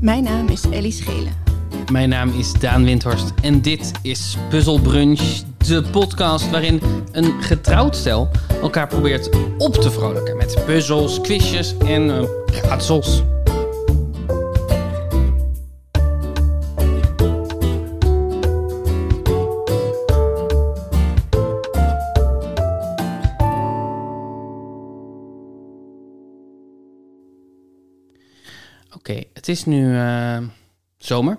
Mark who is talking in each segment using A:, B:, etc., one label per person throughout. A: Mijn naam is Ellie Schelen.
B: Mijn naam is Daan Windhorst en dit is Puzzle Brunch, de podcast waarin een getrouwd stel elkaar probeert op te vrolijken met puzzels, quizjes en eh, raadsels. Oké, het is nu eh, zomer.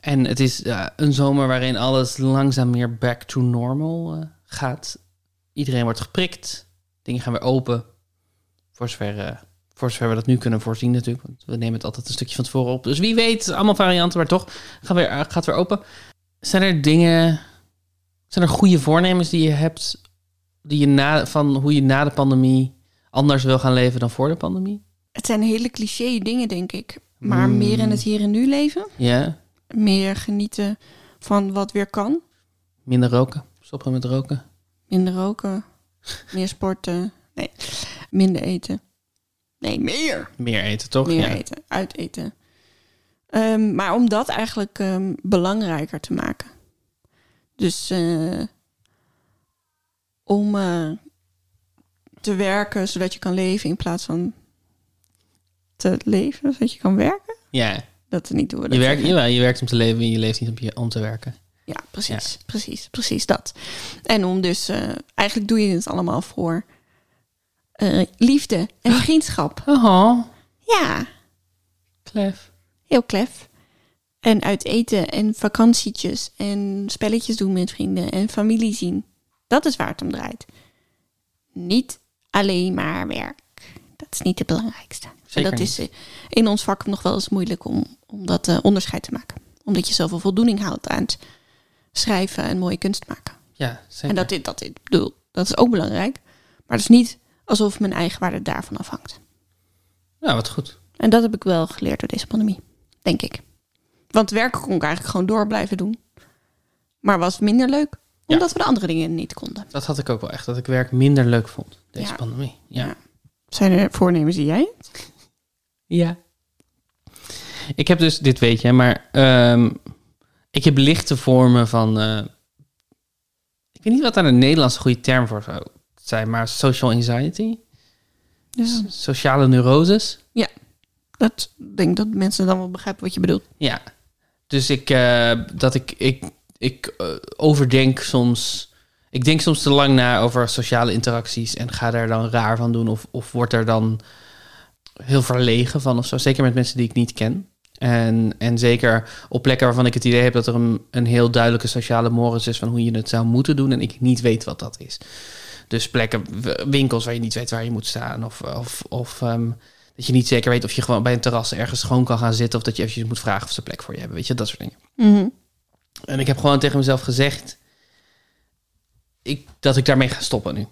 B: En het is eh, een zomer waarin alles langzaam meer back to normal eh, gaat. Iedereen wordt geprikt. Dingen gaan weer open. Voor zover, eh, voor zover we dat nu kunnen voorzien natuurlijk. Want we nemen het altijd een stukje van tevoren op. Dus wie weet, allemaal varianten, maar toch gaan weer, eh, gaat weer open. Zijn er dingen... Zijn er goede voornemens die je hebt... Die je na, van hoe je na de pandemie anders wil gaan leven dan voor de pandemie?
A: Het zijn hele cliché dingen, denk ik. Maar meer in het hier en nu leven.
B: Ja,
A: Meer genieten van wat weer kan.
B: minder roken. Stoppen met roken.
A: Minder roken. Meer sporten. Nee, minder eten. Nee, meer.
B: Meer eten, toch?
A: Meer
B: ja.
A: eten. Uiteten. Ehm, maar om dat eigenlijk ehm, belangrijker te maken. Dus eh, om eh, te werken zodat je kan leven in plaats van te leven zodat je kan werken.
B: ja.
A: Dat niet doen we
B: Je
A: dat
B: werkt,
A: zeggen.
B: jawel, je werkt om te leven en je leeft niet om, je, om te werken.
A: Ja, precies, precies, precies dat. En om dus, eh, eigenlijk doe je het allemaal voor eh, liefde en vriendschap.
B: Oh,
A: Ja,
B: klef.
A: heel klef. En uit eten en vakantietjes en spelletjes doen met vrienden en familie zien. Dat is waar het om draait. Niet alleen maar werk. Dat is niet het belangrijkste.
B: Zeker
A: en dat is eh, in ons vak nog wel eens moeilijk om, om dat eh, onderscheid te maken. Omdat je zoveel voldoening houdt aan het schrijven en mooie kunst maken.
B: Ja, zeker.
A: En dat dit, dat dit, bedoel, dat is ook belangrijk. Maar het is niet alsof mijn eigen waarde daarvan afhangt.
B: Nou, wat goed.
A: En dat heb ik wel geleerd door deze pandemie, denk ik. Want werken kon ik eigenlijk gewoon door blijven doen. Maar was minder leuk,
B: Ja.
A: omdat we de andere dingen niet konden.
B: Dat had ik ook wel echt, dat ik werk minder leuk vond, deze
A: Ja.
B: pandemie. Ja.
A: Zijn er voornemens die jij hebt?
B: ja. Ik heb dus, dit weet je, maar ehm, ik heb lichte vormen van... eh, ik weet niet wat daar een Nederlandse goede term voor zou zijn, maar social anxiety?
A: Ja.
B: Sociale neuroses?
A: Dus Dat ik denk dat mensen dan wel begrijpen wat je bedoelt.
B: Ja. Dus ik, eh, dat ik, ik, ik eh, overdenk soms. Ik denk soms te lang na over sociale interacties en ga daar dan raar van doen. Of, of word er dan heel verlegen van of zo. Zeker met mensen die ik niet ken. En, en zeker op plekken waarvan ik het idee heb dat er een, een heel duidelijke sociale moris is van hoe je het zou moeten doen. En ik niet weet wat dat is. Dus plekken, w- winkels waar je niet weet waar je moet staan. Of, of, of ehm, dat je niet zeker weet of je gewoon bij een terras ergens gewoon kan gaan zitten. Of dat je eventjes moet vragen of ze plek voor je hebben. Weet je, dat soort dingen. En ik heb gewoon tegen mezelf gezegd. Ik, dat ik daarmee ga stoppen nu.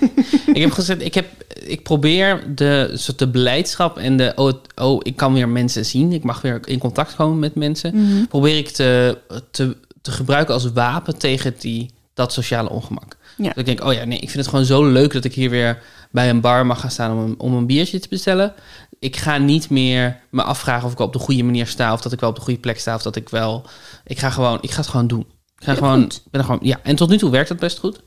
B: ik heb gezegd, ik, heb, ik probeer de, soort de blijdschap en de. Oh, het- oh, ik kan weer mensen zien. Ik mag weer in contact komen met mensen.
A: Mhm.
B: Probeer ik te, te, te gebruiken als wapen tegen die, dat sociale ongemak.
A: Ja.
B: Dat ik denk, oh ja, nee, ik vind het gewoon zo leuk dat ik hier weer bij een bar mag gaan staan om een, om een biertje te bestellen. Ik ga niet meer me afvragen of ik wel op de goede manier sta, of dat ik wel op de goede plek sta, of dat ik wel. Ik ga gewoon, ik ga het gewoon doen. Ik ga
A: Heel
B: gewoon,
A: goed.
B: ik ben er gewoon, ja. En tot nu toe werkt dat best goed.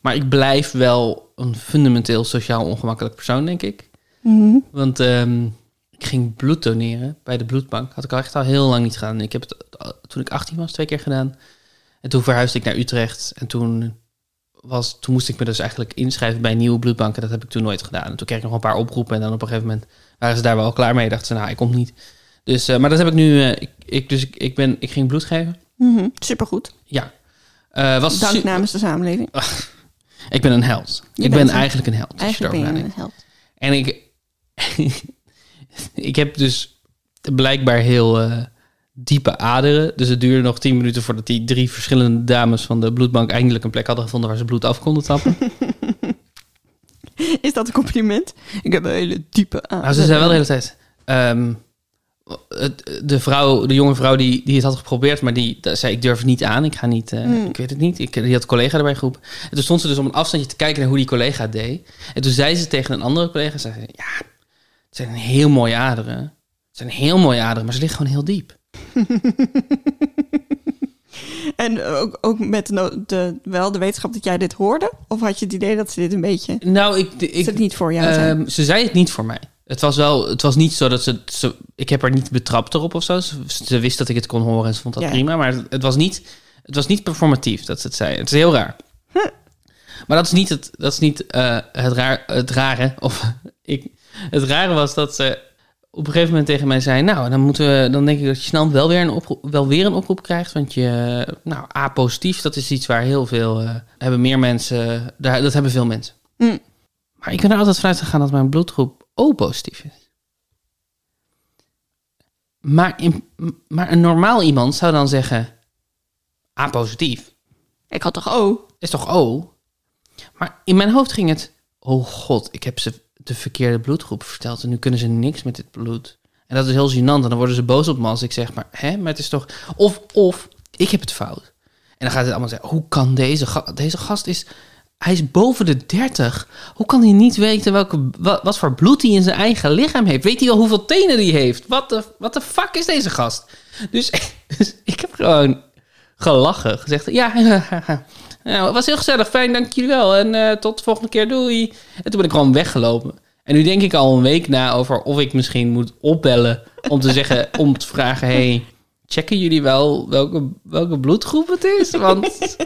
B: Maar ik blijf wel een fundamenteel sociaal ongemakkelijk persoon, denk ik. Want ehm, ik ging bloed doneren bij de bloedbank. Had ik al echt al heel lang niet gedaan. Ik heb het eh, toen ik 18 was twee keer gedaan. En toen verhuisde ik naar Utrecht. En toen, was, toen moest ik me dus eigenlijk inschrijven bij een nieuwe bloedbank. En dat heb ik toen nooit gedaan. En toen kreeg ik nog een paar oproepen. En dan op een gegeven moment waren ze daar wel klaar mee. Dachten ze, nou, ik kom niet. Dus, eh, maar dat heb ik nu... eh, ik, ik, dus ik, ik, ben, ik ging bloed geven.
A: Supergoed.
B: Ja. Eh, was
A: Dank
B: su-
A: namens de samenleving.
B: ik ben een held.
A: Je
B: ik ben
A: bent een-
B: eigenlijk een held. als je
A: Eigenlijk ben
B: erover
A: je
B: nadenkt.
A: een held.
B: En ik, ik heb dus blijkbaar heel eh, diepe aderen. Dus het duurde nog tien minuten voordat die drie verschillende dames van de bloedbank eindelijk een plek hadden gevonden waar ze bloed af konden tappen.
A: Is dat een compliment? Ik heb een hele diepe aan.
B: nou, ze zei wel de hele tijd. ehm, het- de, vrouw, de jonge vrouw die, die het had geprobeerd, maar die dat zei: Ik durf het niet aan, ik ga niet, eh, ik weet het niet. Ik, die had een collega erbij geroepen. En toen stond ze dus om een afstandje te kijken naar hoe die collega het deed. En toen zei ze tegen een andere collega: zei ze, Ja, het zijn heel mooie aderen. Het zijn heel mooie aderen, maar ze liggen gewoon heel diep.
A: En ook, ook met no- de, wel de wetenschap dat jij dit hoorde? Of had je het idee dat ze dit een beetje...
B: Nou, ik, ik,
A: dat het niet voor jou zijn?
B: Ehm, ze zei het niet voor mij. Het was, wel, het was niet zo dat ze, ze- Ik heb haar niet betrapt erop of zo. Ze, ze wist dat ik het kon horen en ze vond dat
A: Ja.
B: prima. Maar het, het was niet, het was niet performatief dat ze het zei. Het is heel raar. Maar dat is niet het, dat is niet, eh, het, raar, het rare. Of, ik, het rare was dat ze op een gegeven moment tegen mij zei... Nou, dan, moeten we, dan denk ik dat je snel wel weer een oproep, wel weer een oproep krijgt. Want je, nou, A-positief, dat is iets waar heel veel... eh, hebben meer mensen... Daar, dat hebben veel mensen.
A: Hm.
B: Maar ik ben er altijd vanuit gegaan dat mijn bloedgroep O positief is. Maar, in, maar een normaal iemand zou dan zeggen... A positief
A: Ik had toch O?
B: is toch O? Maar in mijn hoofd ging het... Oh god, ik heb ze de verkeerde bloedgroep verteld... en nu kunnen ze niks met dit bloed. En dat is heel gênant. En dan worden ze boos op me als ik zeg... maar, hè, maar het is toch... Of, of, ik heb het fout. En dan gaat het allemaal zeggen... hoe kan deze, ga- deze gast is... Hij is boven de 30. Hoe kan hij niet weten welke, wat, wat voor bloed hij in zijn eigen lichaam heeft? Weet hij wel hoeveel tenen hij heeft? Wat de, wat de fuck is deze gast? Dus, dus ik heb gewoon gelachen. Gezegd, ja, nou, het was heel gezellig. Fijn, dank jullie wel. En eh, tot de volgende keer, doei. En toen ben ik gewoon weggelopen. En nu denk ik al een week na over of ik misschien moet opbellen... om te zeggen, om te vragen... hey, checken jullie wel welke, welke bloedgroep het is? Want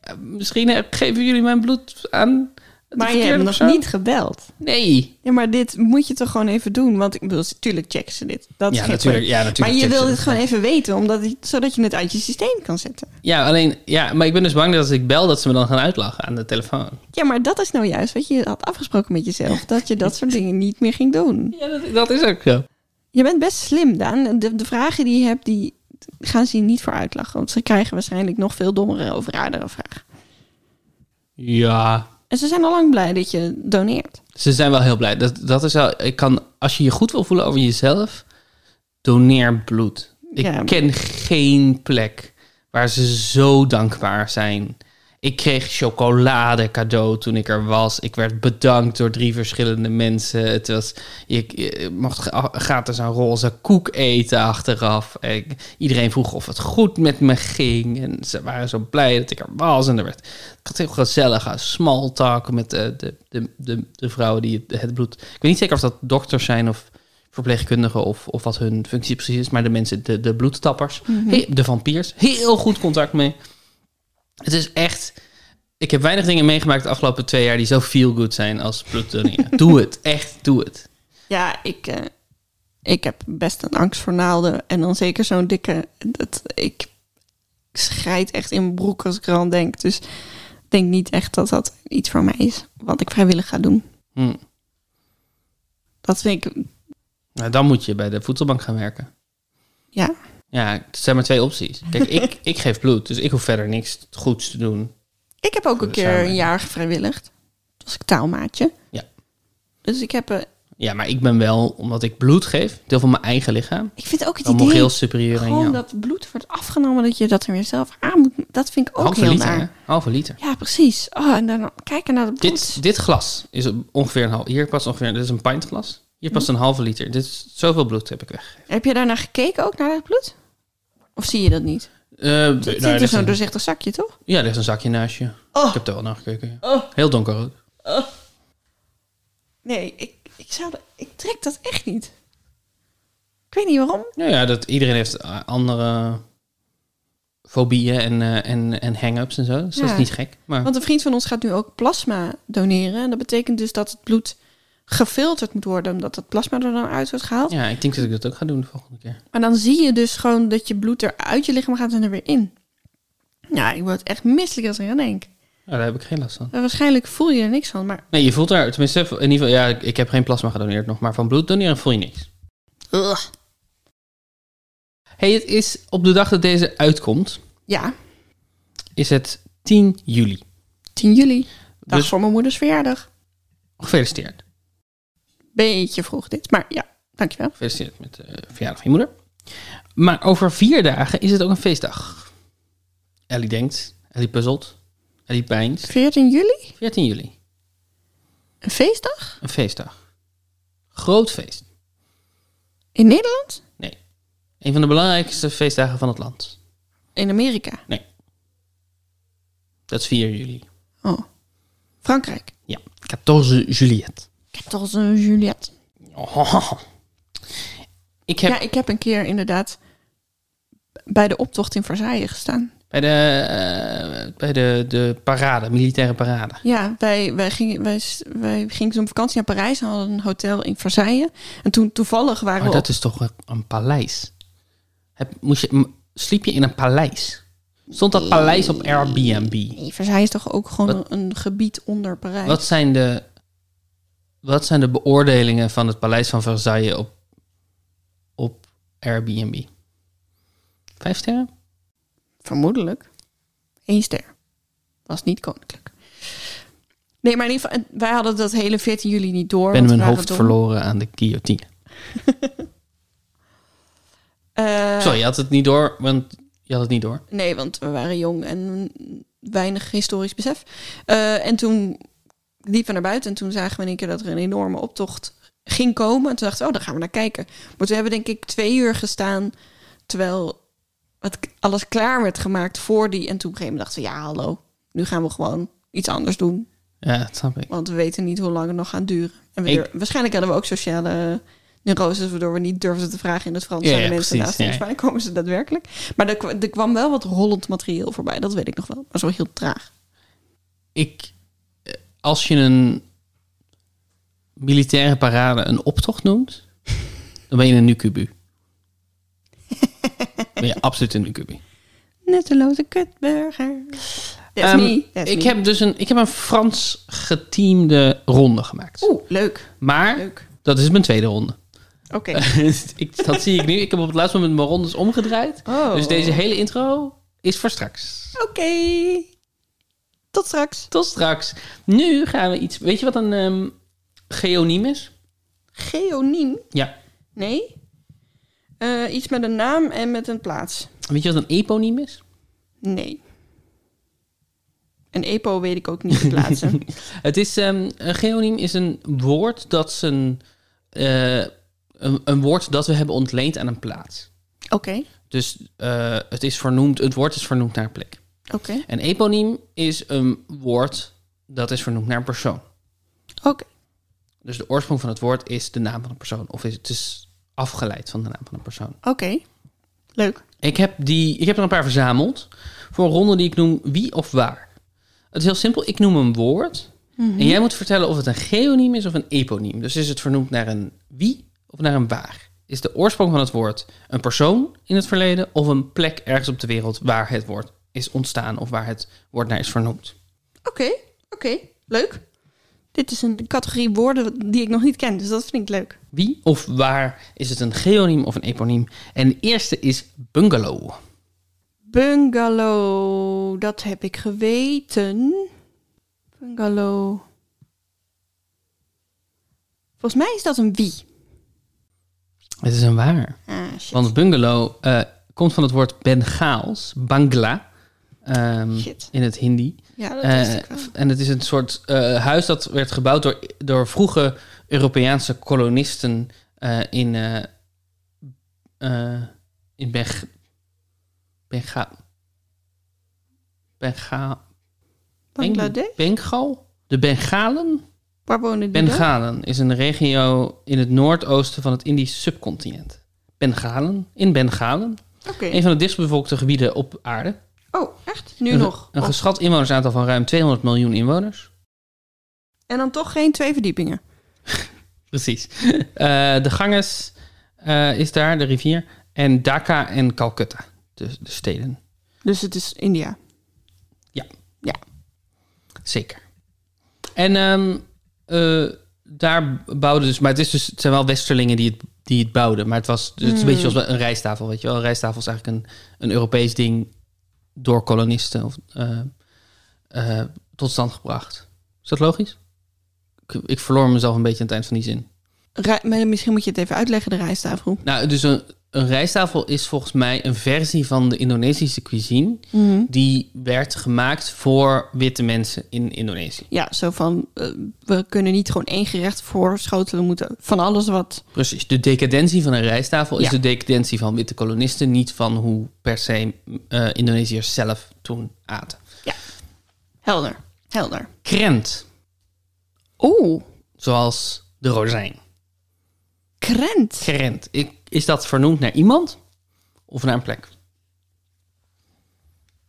B: eh, misschien eh, geven jullie mijn bloed aan... de
A: Maar je
B: verkeerde
A: hebt nog
B: persoon.
A: niet gebeld.
B: Nee.
A: Ja, maar dit moet je toch gewoon even doen? Want ik bedoel, natuurlijk checken ze dit. Dat is
B: Ja,
A: geen
B: natuurlijk, ja, natuurlijk
A: maar je
B: checken
A: wil
B: ze
A: het
B: dit.
A: gewoon even weten, omdat het- zodat je het uit je systeem kan zetten.
B: Ja, alleen... Ja, maar ik ben dus bang dat als ik bel... dat ze me dan gaan uitlachen aan de telefoon.
A: Ja, maar dat is nou juist wat je had afgesproken met jezelf. Dat je dat soort dingen niet meer ging doen.
B: Ja, dat, dat is ook zo.
A: Je bent best slim, Daan. De, de vragen die je hebt, die gaan ze je niet voor uitlachen. Want ze krijgen waarschijnlijk nog veel dommere of raardere vragen.
B: Ja,
A: En ze zijn al lang blij dat je doneert.
B: Ze zijn wel heel blij. Dat, dat is wel, ik kan, als je je goed wil voelen over jezelf, doneer bloed. Ik
A: Ja.
B: ken geen plek waar ze zo dankbaar zijn. Ik kreeg chocolade cadeau toen ik er was. Ik werd bedankt door drie verschillende mensen. Het was, je, je mocht gra- gratis een roze koek eten achteraf. Ik- iedereen vroeg of het goed met me ging. En ze waren zo blij dat ik er was. En er werd, ik had heel gezellige small talk met de, de, de, de, de vrouwen die het, het bloed... Ik weet niet zeker of dat dokters zijn of verpleegkundigen of, of wat hun functie precies is. Maar de mensen, de, de bloedtappers,
A: Mhm.
B: he- de vampiers, heel goed contact mee. Het is echt... Ik heb weinig dingen meegemaakt de afgelopen twee jaar die zo feel good zijn als bloed doneren. doe het, echt, doe het.
A: Ja, ik, eh, ik heb best een angst voor naalden. En dan zeker zo'n dikke... Dat, ik schrijt echt in mijn broek als ik er aan denk. Dus ik denk niet echt dat dat iets voor mij is. Wat ik vrijwillig ga doen.
B: Hm.
A: Dat vind ik...
B: Nou, dan moet je bij de voedselbank gaan werken.
A: Ja,
B: Ja, het zijn maar twee opties. Kijk, ik, ik geef bloed, dus ik hoef verder niks goeds te doen.
A: Ik heb ook een keer een
B: samenleving.
A: jaar gevrijwilligd. Toen was ik taalmaatje.
B: Ja.
A: Dus ik heb... eh,
B: Ja, maar ik ben wel, omdat ik bloed geef, deel van mijn eigen lichaam,
A: ik vind ook het
B: dan
A: idee...
B: moreel superieur aan
A: Gewoon
B: jou.
A: dat bloed wordt afgenomen, dat je dat er weer zelf aan moet. Dat vind ik ook
B: Halve
A: heel
B: liter,
A: naar.
B: hè? Halve liter.
A: Ja, precies. Oh, en dan kijken naar het bloed.
B: Dit, dit glas is ongeveer een half... Hier past ongeveer... Dit is een pintglas. Hier
A: Hm.
B: past een halve liter. Dit is, zoveel bloed heb ik weggegeven.
A: Heb je daarnaar gekeken ook, naar het bloed? Of zie je dat niet?
B: Eh, nou,
A: Het zit
B: er
A: in
B: ligt
A: zo'n
B: een-
A: doorzichtig zakje, toch?
B: Ja, er is een zakje naast je.
A: Oh.
B: Ik heb er wel naar gekeken. ja.
A: Oh.
B: Heel donkerrood.
A: Nee, ik, ik, zou dat- ik trek dat echt niet. Ik weet niet waarom.
B: Nou ja, dat, iedereen heeft eh, andere fobieën en, eh, en, en hang-ups en zo. Dus dat
A: Ja.
B: is niet gek. Maar
A: Want een vriend van ons gaat nu ook plasma doneren. En dat betekent dus dat het bloed gefilterd moet worden, omdat het plasma er dan uit wordt gehaald.
B: ja, ik denk dat ik dat ook ga doen de volgende keer.
A: Maar dan zie je dus gewoon dat je bloed er uit je lichaam gaat en er weer in. Ja, ik word echt misselijk als ik aan denk.
B: Nou, daar heb ik geen last van.
A: En waarschijnlijk voel je er niks van, maar...
B: Nee, je voelt daar... Tenminste, in ieder geval... Ja, ik, ik heb geen plasma gedoneerd nog. Maar van bloed doneren voel je niks.
A: Ugh.
B: hey, het is op de dag dat deze uitkomt...
A: Ja,
B: is het 10 juli.
A: 10 juli. Dag
B: Dus-
A: voor mijn moeders verjaardag.
B: Gefeliciteerd.
A: Beetje vroeg dit, maar ja, dankjewel.
B: Gefeliciteerd met eh, de verjaardag van je moeder. Maar over vier dagen is het ook een feestdag. Ellie denkt, Ellie puzzelt, Ellie pijnst.
A: 14 juli?
B: 14 juli,
A: Een feestdag?
B: een feestdag. Groot feest.
A: In Nederland?
B: Nee. Een van de belangrijkste feestdagen van het land.
A: In Amerika?
B: Dat is 4 juli.
A: Oh. Frankrijk?
B: Ja, 14 Juliet.
A: 14 Juliet.
B: Oh. Ik heb
A: Ja, ik heb een keer inderdaad bij de optocht in Versailles gestaan.
B: bij, de, eh, bij de, de parade, militaire parade.
A: Ja, wij, wij, gingen, wij, s- wij gingen zo'n vakantie naar Parijs en hadden een hotel in Versailles. En toen toevallig waren
B: Maar
A: we
B: Oh, dat is toch een, een paleis? Heb, moest je, m- sliep je in een paleis? Stond dat paleis op Airbnb?
A: Nee, Versailles is toch ook gewoon
B: Wat-
A: een, een gebied onder Parijs?
B: Wat zijn de, wat zijn de beoordelingen van het paleis van Versailles op, op Airbnb? Vijf sterren?
A: Vermoedelijk. Eén ster. Was niet koninklijk. Nee, maar in ieder geval, wij hadden dat hele 14 juli niet door.
B: Ik ben
A: want we
B: mijn
A: waren
B: hoofd
A: dom.
B: verloren aan de guillotine.
A: Eh,
B: Sorry, je had het niet door, want je had het niet door.
A: Nee, want we waren jong en weinig historisch besef. Eh, en toen liepen we naar buiten en toen zagen we in één keer dat er een enorme optocht ging komen. En toen dachten we, oh, daar gaan we naar kijken. Maar toen hebben we denk ik twee uur gestaan, terwijl het, alles klaar werd gemaakt voor die. En toen op een gegeven moment dachten we, ja, hallo, nu gaan we gewoon iets anders doen.
B: Ja, dat snap ik.
A: Want we weten niet hoe lang het nog gaat duren. En we
B: Ik-
A: dur- waarschijnlijk hadden we ook sociale neuroses... waardoor we niet durfden te vragen in het Frans
B: Ja,
A: aan de
B: ja,
A: mensen
B: precies,
A: naast ons.
B: ja.
A: Waar komen ze daadwerkelijk? Maar er, kwa- er kwam wel wat rollend materieel voorbij. Dat weet ik nog wel. Maar zo heel traag.
B: ik, eh, als je een militaire parade een optocht noemt, dan ben je een nukubu. ben je absoluut een nukubu.
A: Netteloze kutburger. That's
B: Ehm,
A: me. That's
B: Ik
A: me.
B: heb dus een, ik heb een Frans geteamde ronde gemaakt.
A: Oeh, leuk.
B: maar
A: Leuk.
B: dat is mijn tweede ronde.
A: Oké.
B: Eh. ik, dat zie ik nu. Ik heb op het laatste moment mijn rondes omgedraaid.
A: Oh.
B: Dus deze hele intro is voor straks.
A: Oké. Tot straks.
B: Tot straks. Nu gaan we iets. Weet je wat een ehm, geoniem is?
A: Geoniem?
B: Ja.
A: Nee. Eh, iets met een naam en met een plaats.
B: Weet je wat een eponiem is?
A: Nee. Een EPO weet ik ook niet te plaatsen.
B: Het is, ehm, een geoniem is een woord dat zijn, eh, een, een woord dat we hebben ontleend aan een plaats.
A: Oké,
B: Dus eh, het, is vernoemd, het woord is vernoemd naar een plek.
A: oké,
B: Een eponiem is een woord dat is vernoemd naar een persoon.
A: oké.
B: Dus de oorsprong van het woord is de naam van een persoon. Of is, het is afgeleid van de naam van een persoon.
A: Oké, leuk.
B: Ik heb, die, ik heb er een paar verzameld voor een ronde die ik noem wie of waar. Het is heel simpel, ik noem een woord. En jij moet vertellen of het een geoniem is of een eponiem. Dus is het vernoemd naar een wie of naar een waar? Is de oorsprong van het woord een persoon in het verleden of een plek ergens op de wereld waar het woord is ontstaan of waar het woord naar is vernoemd?
A: Oké, oké, leuk. Dit is een categorie woorden die ik nog niet ken, dus dat vind ik leuk.
B: Wie of waar is het een geoniem of een eponiem? En de eerste is bungalow.
A: Bungalow, dat heb ik geweten. Bungalow. Volgens mij is dat een wie.
B: Het is een waar.
A: Ah, shit.
B: Want bungalow eh, komt van het woord Bengaals, Bangla, ehm,
A: Shit.
B: in het Hindi.
A: Ja, Oh, dat
B: Eh,
A: wist ik wel.
B: f- en het is een soort eh, huis dat werd gebouwd door, door vroege Europese kolonisten eh, in, eh eh, in Beng Benga Benga Beng-
A: Bangladesh?
B: Bengal? De Bengalen?
A: Waar wonen die dan?
B: Bengalen is een regio in het noordoosten van het Indisch subcontinent. Bengalen? In Bengalen?
A: Oké.
B: Een van de dichtstbevolkte gebieden op aarde.
A: Oh, echt? Nu
B: een,
A: nog?
B: Een
A: Oh.
B: geschat inwonersaantal van ruim 200 miljoen inwoners.
A: En dan toch geen twee verdiepingen.
B: Precies. Eh, de Ganges eh, is daar, de rivier. En Dhaka en Calcutta, de, de steden.
A: Dus het is India.
B: Zeker. En ehm, eh, daar bouwden dus... Maar het, is dus, het zijn wel westerlingen die het, die het bouwden. Maar het, was, het is een beetje zoals een rijsttafel, weet je wel. Een rijsttafel is eigenlijk een, een Europees ding door kolonisten of, eh, eh, tot stand gebracht. Is dat logisch? Ik, ik verloor mezelf een beetje aan het eind van die zin.
A: Rij- maar misschien moet je het even uitleggen, de rijsttafel.
B: Nou, dus een, een rijsttafel is volgens mij een versie van de Indonesische cuisine.
A: Mhm.
B: Die werd gemaakt voor witte mensen in Indonesië.
A: Ja, zo van, eh, we kunnen niet gewoon één gerecht voorschotelen. We moeten van alles wat...
B: Precies. De decadentie van een rijsttafel is
A: Ja.
B: de decadentie van witte kolonisten, niet van hoe per se eh, Indonesiërs zelf toen aten.
A: Helder, helder.
B: Krent,
A: Oeh,
B: zoals de rozijn.
A: krent.
B: Krent, ik, is dat vernoemd naar iemand of naar een plek?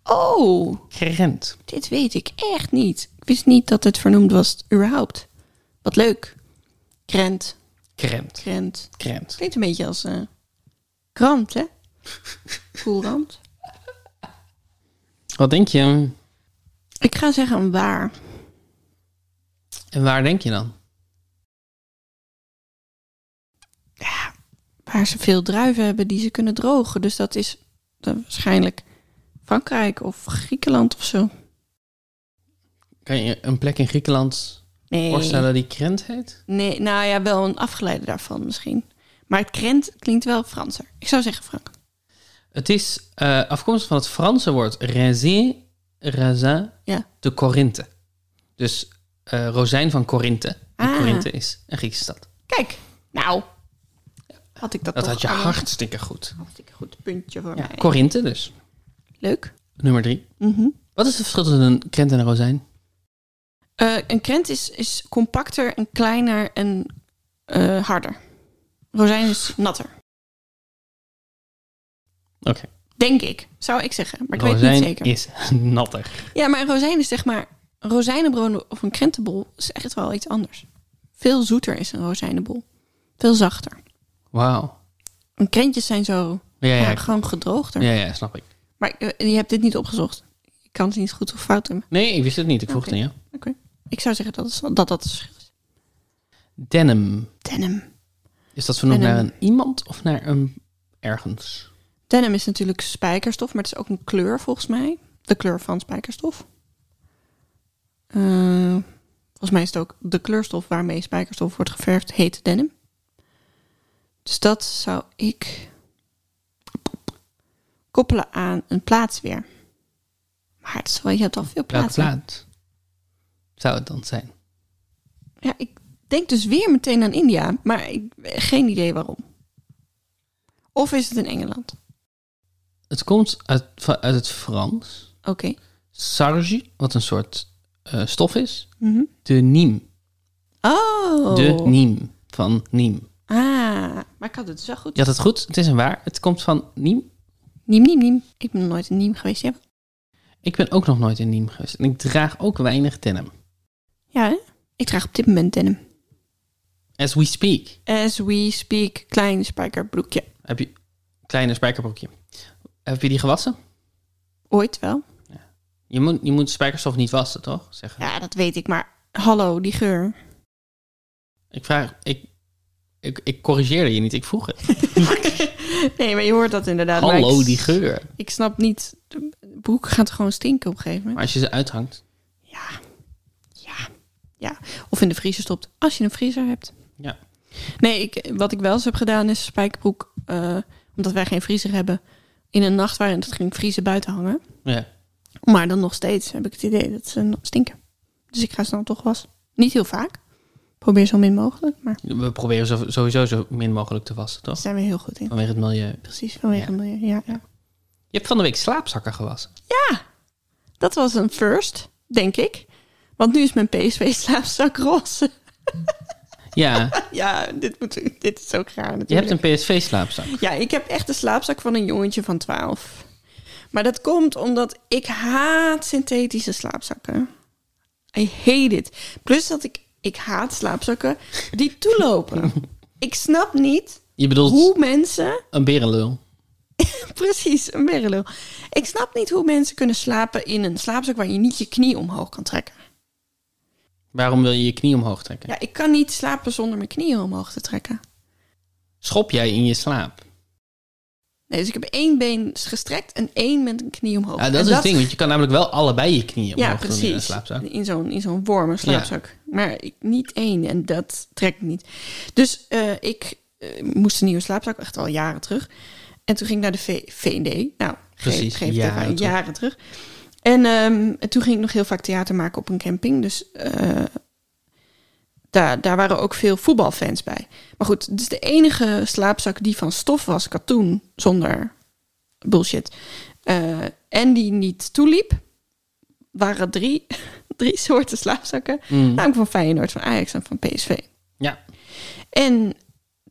A: Oh,
B: Krent.
A: dit weet ik echt niet. Ik wist niet dat het vernoemd was, überhaupt. Wat leuk. Krent,
B: Krent.
A: krent.
B: Krent.
A: Klinkt een beetje als eh krant, hè? Koelrand.
B: Wat denk je?
A: Ik ga zeggen een waar.
B: En waar denk je dan?
A: Waar ze veel druiven hebben die ze kunnen drogen. Dus dat is dan waarschijnlijk Frankrijk of Griekenland of zo.
B: Kan je een plek in Griekenland
A: Nee.
B: voorstellen die Krent heet?
A: nee. Nou ja, wel een afgeleide daarvan misschien. Maar het krent klinkt wel Franser. Ik zou zeggen Frank.
B: Het is eh, afkomstig van het Franse woord raisin, raisin
A: Ja.
B: de Corinthe. Dus eh, rozijn van Corinthe. En
A: Ah.
B: Corinthe is een Griekse stad.
A: Kijk, nou. Had ik dat,
B: Dat
A: toch
B: had je
A: allemaal-
B: hartstikke goed.
A: Hartstikke goed puntje voor
B: Ja,
A: mij.
B: Corinthe dus.
A: Leuk.
B: Nummer drie.
A: Mhm.
B: Wat is het verschil tussen een krent en een rozijn?
A: Eh, een krent is, is compacter en kleiner en eh, harder. Rozijn is natter.
B: Oké.
A: Denk ik, zou ik zeggen. Maar ik weet het
B: rozijn
A: niet zeker.
B: is natter.
A: Ja, maar een rozijn is zeg maar... Een rozijnenbrood of een krentenbol is echt wel iets anders. Veel zoeter is een rozijnenbol. Veel zachter.
B: Wauw.
A: En krentjes zijn zo
B: Ja,
A: ja,
B: ja,
A: gewoon gedroogder.
B: ja, ja, snap ik.
A: Maar eh, je hebt dit niet opgezocht. Ik kan het niet goed of fout hebben.
B: Nee, ik wist het niet. Ik vroeg
A: Oké.
B: het aan jou.
A: Ik zou zeggen dat is- dat, dat is
B: Denim.
A: denim.
B: Is dat vernoemd
A: Denim.
B: naar een iemand of naar een ergens?
A: Denim is natuurlijk spijkerstof, maar het is ook een kleur volgens mij. De kleur van spijkerstof. Eh, volgens mij is het ook de kleurstof waarmee spijkerstof wordt geverfd, heet denim. Dus dat zou ik koppelen aan een plaatsweer. Maar het is wel, je hebt al veel
B: Welke
A: plaatsen.
B: plaat zou het dan zijn?
A: Ja, ik denk dus weer meteen aan India, maar ik, geen idee waarom. Of is het in Engeland?
B: Het komt uit, van- uit het Frans.
A: Oké.
B: Sarge, wat een soort eh, stof is.
A: Mhm.
B: De niem.
A: Oh.
B: De niem. Van niem.
A: Ah, maar ik had het dus wel goed.
B: Je had het goed. Het is een waar. Het komt van niem.
A: Niem, niem, niem. Ik ben nog nooit in Niem geweest, ja.
B: Ik ben ook nog nooit in niem geweest. En ik draag ook weinig denim.
A: Ja, hè? Ik draag op dit moment denim.
B: As we speak.
A: As we speak, klein spijkerbroekje.
B: Heb je... Kleine spijkerbroekje. Heb je die gewassen?
A: Ooit wel.
B: Je moet, je moet spijkerstof niet wassen, toch? Zeggen.
A: Ja, dat weet ik, maar hallo, die geur.
B: Ik vraag... Ik, ik, ik corrigeerde je niet. Ik vroeg het.
A: nee, maar je hoort dat inderdaad. maar
B: Hallo,
A: ik,
B: die geur.
A: Ik snap niet. De broek gaat gewoon stinken op een gegeven moment.
B: Maar als je ze uithangt...
A: Ja. Ja. Ja. Of in de vriezer stopt. Als je een vriezer hebt.
B: Ja.
A: Nee, ik, wat ik wel eens heb gedaan is spijkerbroek, eh, omdat wij geen vriezer hebben, in een nacht waarin het ging vriezen buiten hangen.
B: Ja.
A: Maar dan nog steeds heb ik het idee dat ze nog stinken. Dus ik ga ze dan toch was. Niet heel vaak. Probeer zo min mogelijk, maar
B: We proberen zo- sowieso zo min mogelijk te wassen,
A: daar
B: toch?
A: zijn we heel goed in.
B: Vanwege het milieu.
A: Precies, vanwege
B: Ja.
A: het milieu. Ja, ja.
B: Je hebt van de week slaapzakken gewassen.
A: ja, dat was een first, denk ik. Want nu is mijn PSV-slaapzak roze.
B: Ja,
A: Ja, dit, moet, dit is ook raar natuurlijk.
B: je hebt een PSV-slaapzak.
A: Ja, ik heb echt de slaapzak van een jongetje van 12. Maar dat komt omdat ik haat synthetische slaapzakken. I hate it. Plus dat ik, ik haat slaapzakken die toelopen. ik snap niet
B: Je bedoelt
A: hoe mensen...
B: een berenlul.
A: Precies, een merrelul. Ik snap niet hoe mensen kunnen slapen in een slaapzak waar je niet je knie omhoog kan trekken.
B: Waarom wil je je knie omhoog trekken?
A: Ja, ik kan niet slapen zonder mijn knieën omhoog te trekken.
B: Schop jij in je slaap?
A: Nee, dus ik heb één been gestrekt en één met een knie omhoog.
B: Ja,
A: En
B: dat is het ding, want je kan namelijk wel allebei je knieën omhoog
A: Ja,
B: doen in een
A: precies.
B: slaapzak.
A: In zo'n, in zo'n wormen slaapzak. Maar ik- niet één en dat trekt niet. Dus eh, ik eh, moest een nieuwe slaapzak, echt al jaren terug. En toen ging ik naar de V- VND. Nou,
B: Precies,
A: geef, geef
B: jaren
A: jaren,
B: terug.
A: jaren terug. En ehm, en toen ging ik nog heel vaak theater maken op een camping. Dus eh, daar, daar waren ook veel voetbalfans bij. Maar goed, dus de enige slaapzak die van stof was, katoen, zonder bullshit. eh, en die niet toeliep, waren drie, drie soorten slaapzakken.
B: Mm.
A: Namelijk van Feyenoord, van Ajax en van PSV.
B: Ja.
A: En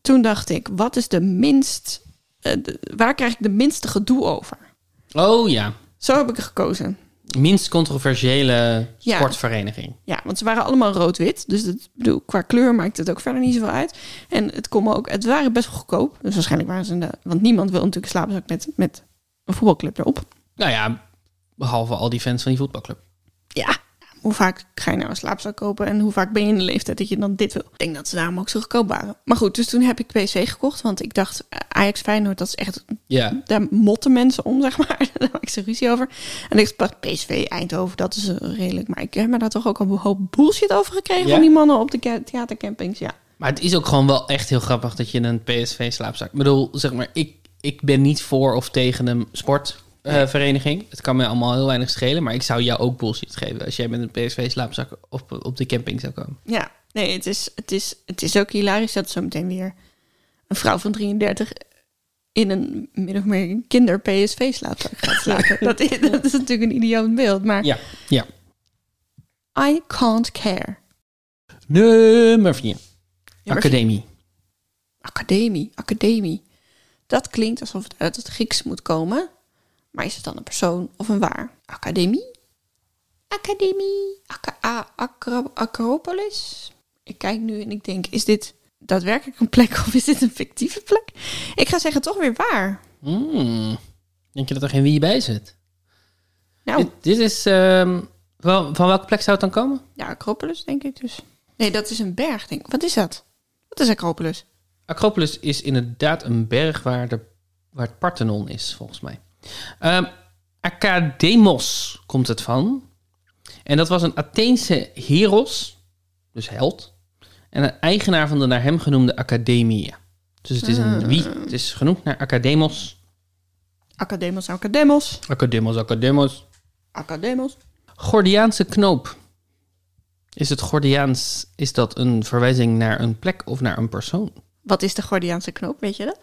A: toen dacht ik, wat is de minst... eh, de- waar krijg ik de minste gedoe over?
B: Oh ja.
A: Zo heb ik er gekozen.
B: Minst controversiële
A: Ja.
B: sportvereniging.
A: Ja, want ze waren allemaal rood-wit. Dus dat, ik bedoel, qua kleur maakt het ook verder niet zoveel uit. En het, kon me ook, het waren best wel goedkoop. Dus waarschijnlijk waren ze... In de, want niemand wil natuurlijk een slaapzak met, met een voetbalclub erop.
B: Nou ja, behalve al die fans van die voetbalclub.
A: Ja, hoe vaak ga je nou een slaapzak kopen? En hoe vaak ben je in de leeftijd dat je dan dit wil? Ik denk dat ze daarom ook zo goedkoop waren. Maar goed, dus toen heb ik PSV gekocht. Want ik dacht, eh, Ajax Feyenoord, dat is echt
B: Ja.
A: daar motten mensen om, zeg maar. Daar maak ik ze ruzie over. En ik dacht, PSV, Eindhoven, dat is eh, redelijk. Maar ik heb me daar toch ook een hoop bullshit over gekregen
B: Ja?
A: van die mannen op de ca- theatercampings. Ja.
B: Maar het is ook gewoon wel echt heel grappig dat je een PSV slaapzak... Ik bedoel, zeg maar, ik, ik ben niet voor of tegen een sportvereniging. het kan me allemaal heel weinig schelen, maar ik zou jou ook bullshit geven... als jij met een PSV slaapzak op, op de camping zou komen.
A: Ja, nee, het is, het is, het is ook hilarisch dat zo meteen weer een vrouw van 33 in een min of meer een kinder PSV slaapzak gaat slapen. dat, is, dat is natuurlijk een idioot beeld, maar
B: Ja, ja.
A: I can't care.
B: Nummer 4. Academie.
A: Academie, academie. Dat klinkt alsof het uit het Grieks moet komen. Maar is het dan een persoon of een waar? Academie? Academie? Aca- a- acro- Acropolis? Ik kijk nu en ik denk, is dit daadwerkelijk een plek of is dit een fictieve plek? Ik ga zeggen toch weer waar.
B: Hmm. Denk je dat er geen wie bij zit?
A: Nou,
B: Dit, dit is... ehm, wel, van welke plek zou het dan komen?
A: ja, Acropolis denk ik dus. Nee, dat is een berg, denk ik. Wat is dat? Wat is Acropolis?
B: Acropolis is inderdaad een berg waar, de, waar het Parthenon is, volgens mij. Ehm Academos komt het van. En dat was een Atheense heros, dus held. En een eigenaar van de naar hem genoemde Academia. Dus het is een wie. Het is genoemd naar Academos.
A: Academos, Academos.
B: Academos, Academos.
A: Academos.
B: Gordiaanse knoop. Is het Gordiaans, is dat een verwijzing naar een plek of naar een persoon?
A: Wat is de Gordiaanse knoop, weet je dat?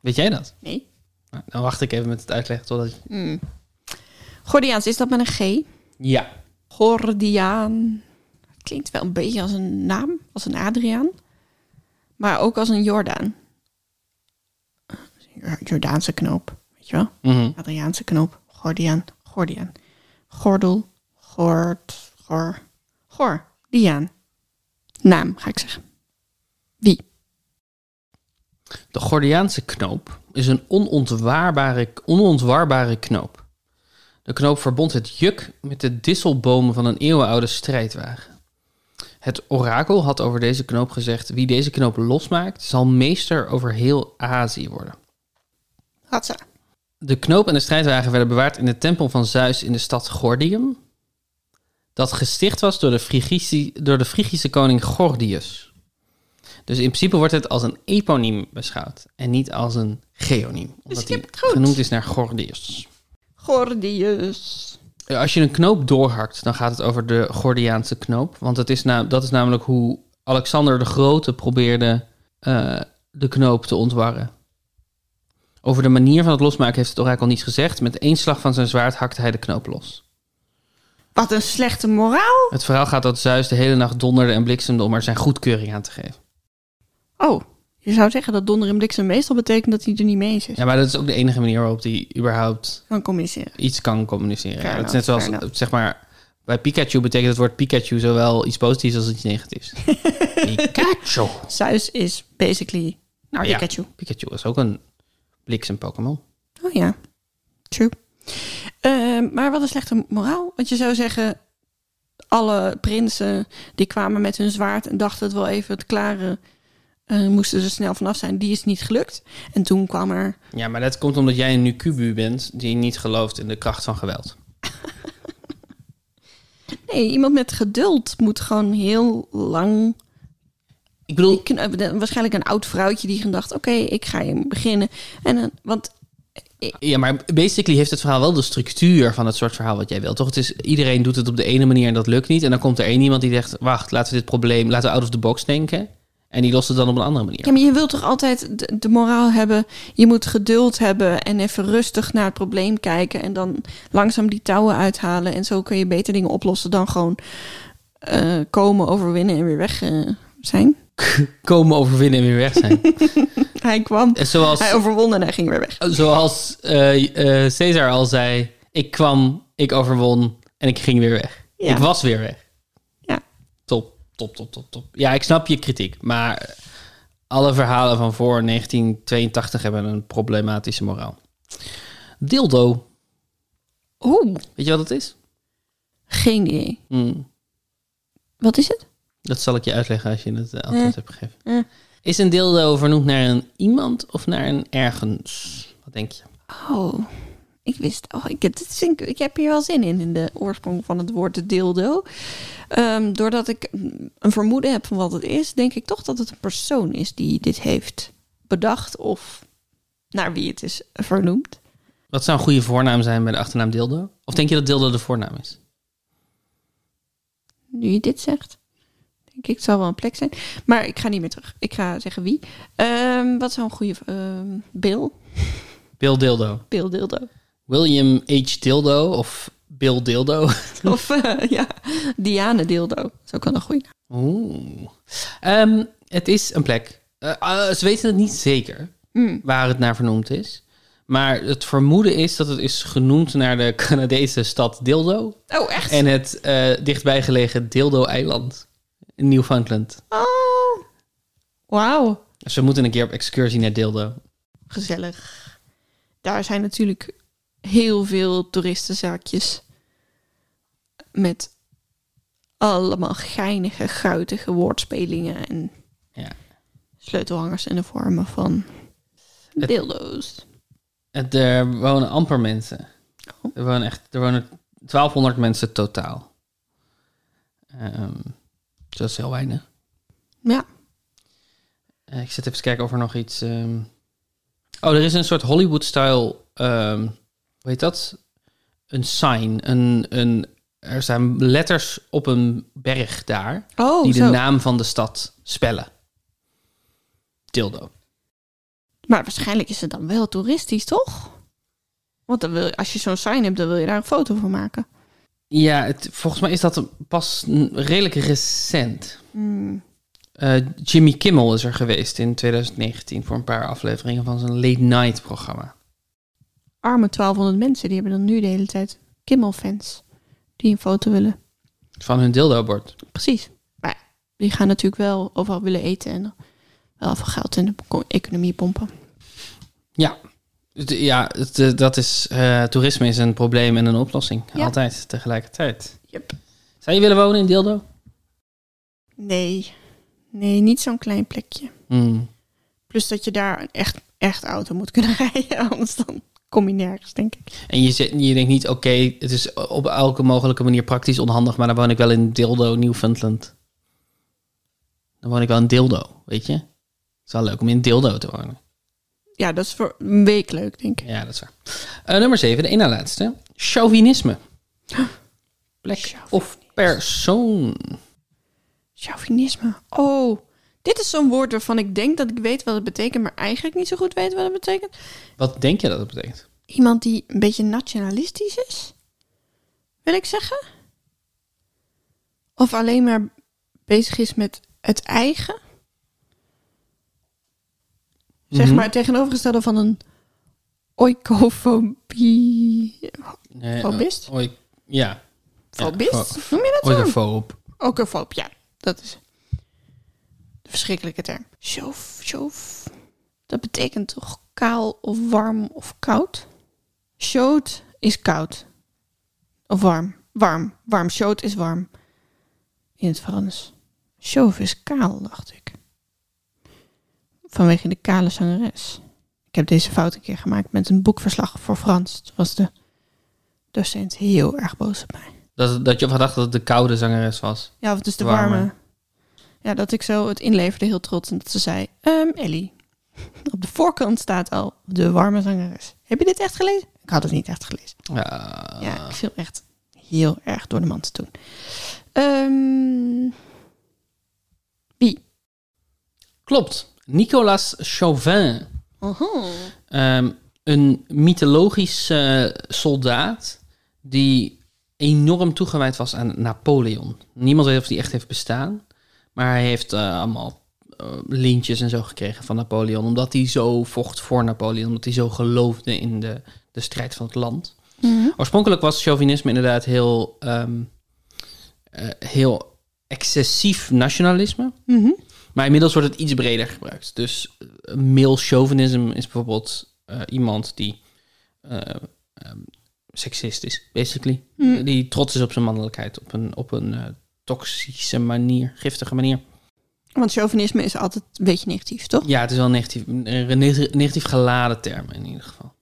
B: Weet jij dat?
A: Nee.
B: Nou, Dan wacht ik even met het uitleggen totdat...
A: Gordiaans, is dat met een G?
B: Ja,
A: Gordiaan. Klinkt wel een beetje als een naam, als een Adriaan. Maar ook als een Jordaan. Ja, Jordaanse knoop, weet je wel?
B: Mhm.
A: Adriaanse knoop, Gordiaan, Gordiaan. Gordel, Gord, Gor, Gor, Diaan. Naam, ga ik zeggen. Wie?
B: De Gordiaanse knoop is een onontwaarbare, onontwarbare knoop. De knoop verbond het juk met de disselbomen van een eeuwenoude strijdwagen. Het orakel had over deze knoop gezegd: wie deze knoop losmaakt, zal meester over heel Azië worden.
A: Hatsa.
B: De knoop en de strijdwagen werden bewaard in de tempel van Zeus in de stad Gordium. Dat gesticht was door de, Frigici- door de Frigische koning Gordius. Dus in principe wordt het als een eponiem beschouwd en niet als een geoniem. Omdat
A: je
B: hij
A: hebt het goed.
B: genoemd is naar Gordius.
A: Gordius.
B: Ja, Eh, Als je een knoop doorhakt, dan gaat het over de Gordiaanse knoop. Want het is na- dat is namelijk hoe Alexander de Grote probeerde eh, de knoop te ontwarren. Over de manier van het losmaken heeft het orakel niets gezegd. Met één slag van zijn zwaard hakte hij de knoop los.
A: Wat een slechte moraal.
B: Het verhaal gaat dat Zeus de hele nacht donderde en bliksemde om er zijn goedkeuring aan te geven.
A: Oh, je zou zeggen dat donder en bliksem meestal betekent dat hij er niet mee eens is.
B: Ja, maar dat is ook de enige manier waarop hij überhaupt
A: Kan communiceren.
B: iets kan communiceren.
A: Fair
B: Ja, het is net
A: enough,
B: zoals,
A: fair enough.
B: zeg maar, bij Pikachu betekent het woord Pikachu zowel iets positiefs als iets negatiefs. Pikachu.
A: Zeus is basically
B: Nou ja.
A: Pikachu.
B: Pikachu is ook een bliksem Pokémon.
A: Oh ja, true. Ehm, maar wat een slechte moraal. Want je zou zeggen, alle prinsen die kwamen met hun zwaard en dachten het wel even het klare, eh, moesten er snel vanaf zijn. Die is niet gelukt. En toen kwam er,
B: Ja, maar dat komt omdat jij een Nukubu bent die niet gelooft in de kracht van geweld.
A: nee, iemand met geduld moet gewoon heel lang
B: Ik bedoel,
A: Ik- eh, waarschijnlijk een oud vrouwtje die gedacht, oké, ik ga hier beginnen. En dan, want
B: ja, maar basically heeft het verhaal wel de structuur van het soort verhaal wat jij wil. Toch? Het is, iedereen doet het op de ene manier en dat lukt niet. En dan komt er één iemand die zegt, wacht, laten we dit probleem, laten we out of the box denken. En die lost het dan op een andere manier.
A: ja, maar je wilt toch altijd de, de moraal hebben, je moet geduld hebben en even rustig naar het probleem kijken en dan langzaam die touwen uithalen. En zo kun je beter dingen oplossen dan gewoon eh, komen, overwinnen en weer weg eh, zijn.
B: Komen, overwinnen en weer weg zijn.
A: Hij kwam,
B: En zoals,
A: hij overwon en hij ging weer weg.
B: zoals eh, eh, Caesar al zei, ik kwam, ik overwon en ik ging weer weg.
A: Ja.
B: Ik was weer weg.
A: Ja.
B: Top, top, top, top, top. Ja, ik snap je kritiek, maar alle verhalen van voor 1982 hebben een problematische moraal. Dildo,
A: Oeh,
B: weet je wat het is?
A: geen idee.
B: Hm,
A: Wat is het?
B: dat zal ik je uitleggen als je het eh, antwoord hebt gegeven.
A: Eh.
B: Is een dildo vernoemd naar een iemand of naar een ergens? Wat denk je?
A: Oh, ik wist. Oh, ik, het is- ik, ik heb hier wel zin in, in de oorsprong van het woord dildo. Ehm, doordat ik een vermoeden heb van wat het is, denk ik toch dat het een persoon is die dit heeft bedacht of naar wie het is vernoemd.
B: Wat zou een goede voornaam zijn bij de achternaam dildo? Of denk je dat dildo de voornaam is?
A: Nu je dit zegt, denk ik, het zal wel een plek zijn. Maar ik ga niet meer terug. Ik ga zeggen wie. Ehm, wat zou een goede. ehm, Bill?
B: Bill Dildo.
A: Bill Dildo.
B: William H. Dildo of Bill Dildo.
A: Of eh, ja, Diane Dildo. Zo kan een goede.
B: Oeh. Ehm, het is een plek. Eh, eh, ze weten het niet zeker
A: Hmm.
B: waar het naar vernoemd is. Maar het vermoeden is dat het is genoemd naar de Canadese stad Dildo.
A: Oh, echt?
B: En het eh, dichtbijgelegen Dildo-eiland in Newfoundland.
A: Oh. Wauw.
B: Dus we moeten een keer op excursie naar Dildo.
A: Gezellig. Daar zijn natuurlijk heel veel toeristenzaakjes. Met allemaal geinige, guitige woordspelingen en
B: Ja.
A: sleutelhangers in de vormen van dildo's.
B: Het, er wonen amper mensen.
A: Oh.
B: Er wonen echt er wonen 1200 mensen totaal. Ehm, dus dat is heel weinig.
A: Ja.
B: Eh, ik zit even te kijken of er nog iets. ehm, Oh, er is een soort Hollywood-style. ehm hoe heet dat? Een sign. Een, een, er zijn letters op een berg daar.
A: Oh,
B: die
A: zo.
B: de naam van de stad spellen: Dildo.
A: Maar waarschijnlijk is het dan wel toeristisch, toch? Want dan wil je- als je zo'n sign hebt, dan wil je daar een foto van maken.
B: Ja, het, volgens mij is dat pas n- redelijk recent.
A: Hmm.
B: Eh, Jimmy Kimmel is er geweest in 2019 voor een paar afleveringen van zijn late night programma.
A: Arme 1200 mensen, die hebben dan nu de hele tijd Kimmel-fans. Die een foto willen.
B: Van hun dildo-bord.
A: Precies. Maar die gaan natuurlijk wel overal willen eten en wel veel geld in de eco- economie pompen.
B: Het- Ja, het, eh, dat is, eh, toerisme is een probleem en een oplossing.
A: Ja.
B: Altijd, tegelijkertijd.
A: Yep.
B: Zou je willen wonen in dildo?
A: Nee. Nee, niet zo'n klein plekje.
B: Hmm.
A: Plus dat je daar een echt, echt auto moet kunnen rijden, anders dan kom je nergens, denk ik.
B: En je, zet- je denkt niet, oké, het is op elke mogelijke manier praktisch onhandig, maar dan woon ik wel in dildo Newfoundland. Dan woon ik wel in dildo, weet je? Het is wel leuk om in dildo te wonen.
A: Ja, dat is voor een week leuk, denk ik.
B: Ja, dat is waar. Eh, nummer 7, de ene laatste. Chauvinisme. Plek
A: Chauvinisme.
B: of persoon.
A: Chauvinisme. Oh, dit is zo'n woord waarvan ik denk dat ik weet wat het betekent, maar eigenlijk niet zo goed weet wat het betekent.
B: Wat denk je dat dat betekent?
A: Iemand die een beetje nationalistisch is, wil ik zeggen. Of alleen maar bezig is met het eigen. Zeg
B: Mhm.
A: maar het tegenovergestelde van een oikofobie.
B: Nee,
A: Fobist?
B: eh, oik- ja.
A: Fobist?
B: fo-
A: Hoe noem je dat dan?
B: Oikofoob.
A: Oikofob, ja. Dat is de verschrikkelijke term. Sjoof, sjoof. Dat betekent toch kaal of warm of koud? Shoot is koud. Of warm. Warm. Warm. Shoot is warm. In het Frans. Sjoof is kaal, dacht ik. Vanwege de kale zangeres. Ik heb deze fout een keer gemaakt met een boekverslag voor Frans. Toen was de docent heel erg boos op mij.
B: Dat, dat je had gedacht dat het de koude zangeres was.
A: Ja, of dus de warme.
B: Warme.
A: Ja, dat ik zo het inleverde heel trots. En dat ze zei, ehm, Ellie, op de voorkant staat al de warme zangeres. Heb je dit echt gelezen? Ik had het niet echt gelezen.
B: Ja.
A: Ja, ik viel echt heel erg door de mand toen. Ehm, wie?
B: Klopt. Nicolas Chauvin.
A: Oho.
B: Ehm, een mythologisch eh, soldaat die enorm toegewijd was aan Napoleon. Niemand weet of die echt heeft bestaan, maar hij heeft eh, allemaal eh, lintjes en zo gekregen van Napoleon, omdat hij zo vocht voor Napoleon, omdat hij zo geloofde in de, de strijd van het land.
A: Mhm,
B: Oorspronkelijk was chauvinisme inderdaad heel, ehm, eh, heel excessief nationalisme.
A: Mhm.
B: Maar inmiddels wordt het iets breder gebruikt. Dus eh, male chauvinism is bijvoorbeeld eh, iemand die eh, ehm, seksist is, basically.
A: Mm.
B: Die trots is op zijn mannelijkheid op een, op een eh, toxische manier, giftige manier.
A: Want chauvinisme is altijd een beetje negatief, toch?
B: Ja, het is wel een negatief, een negatief- negatief geladen term in ieder geval.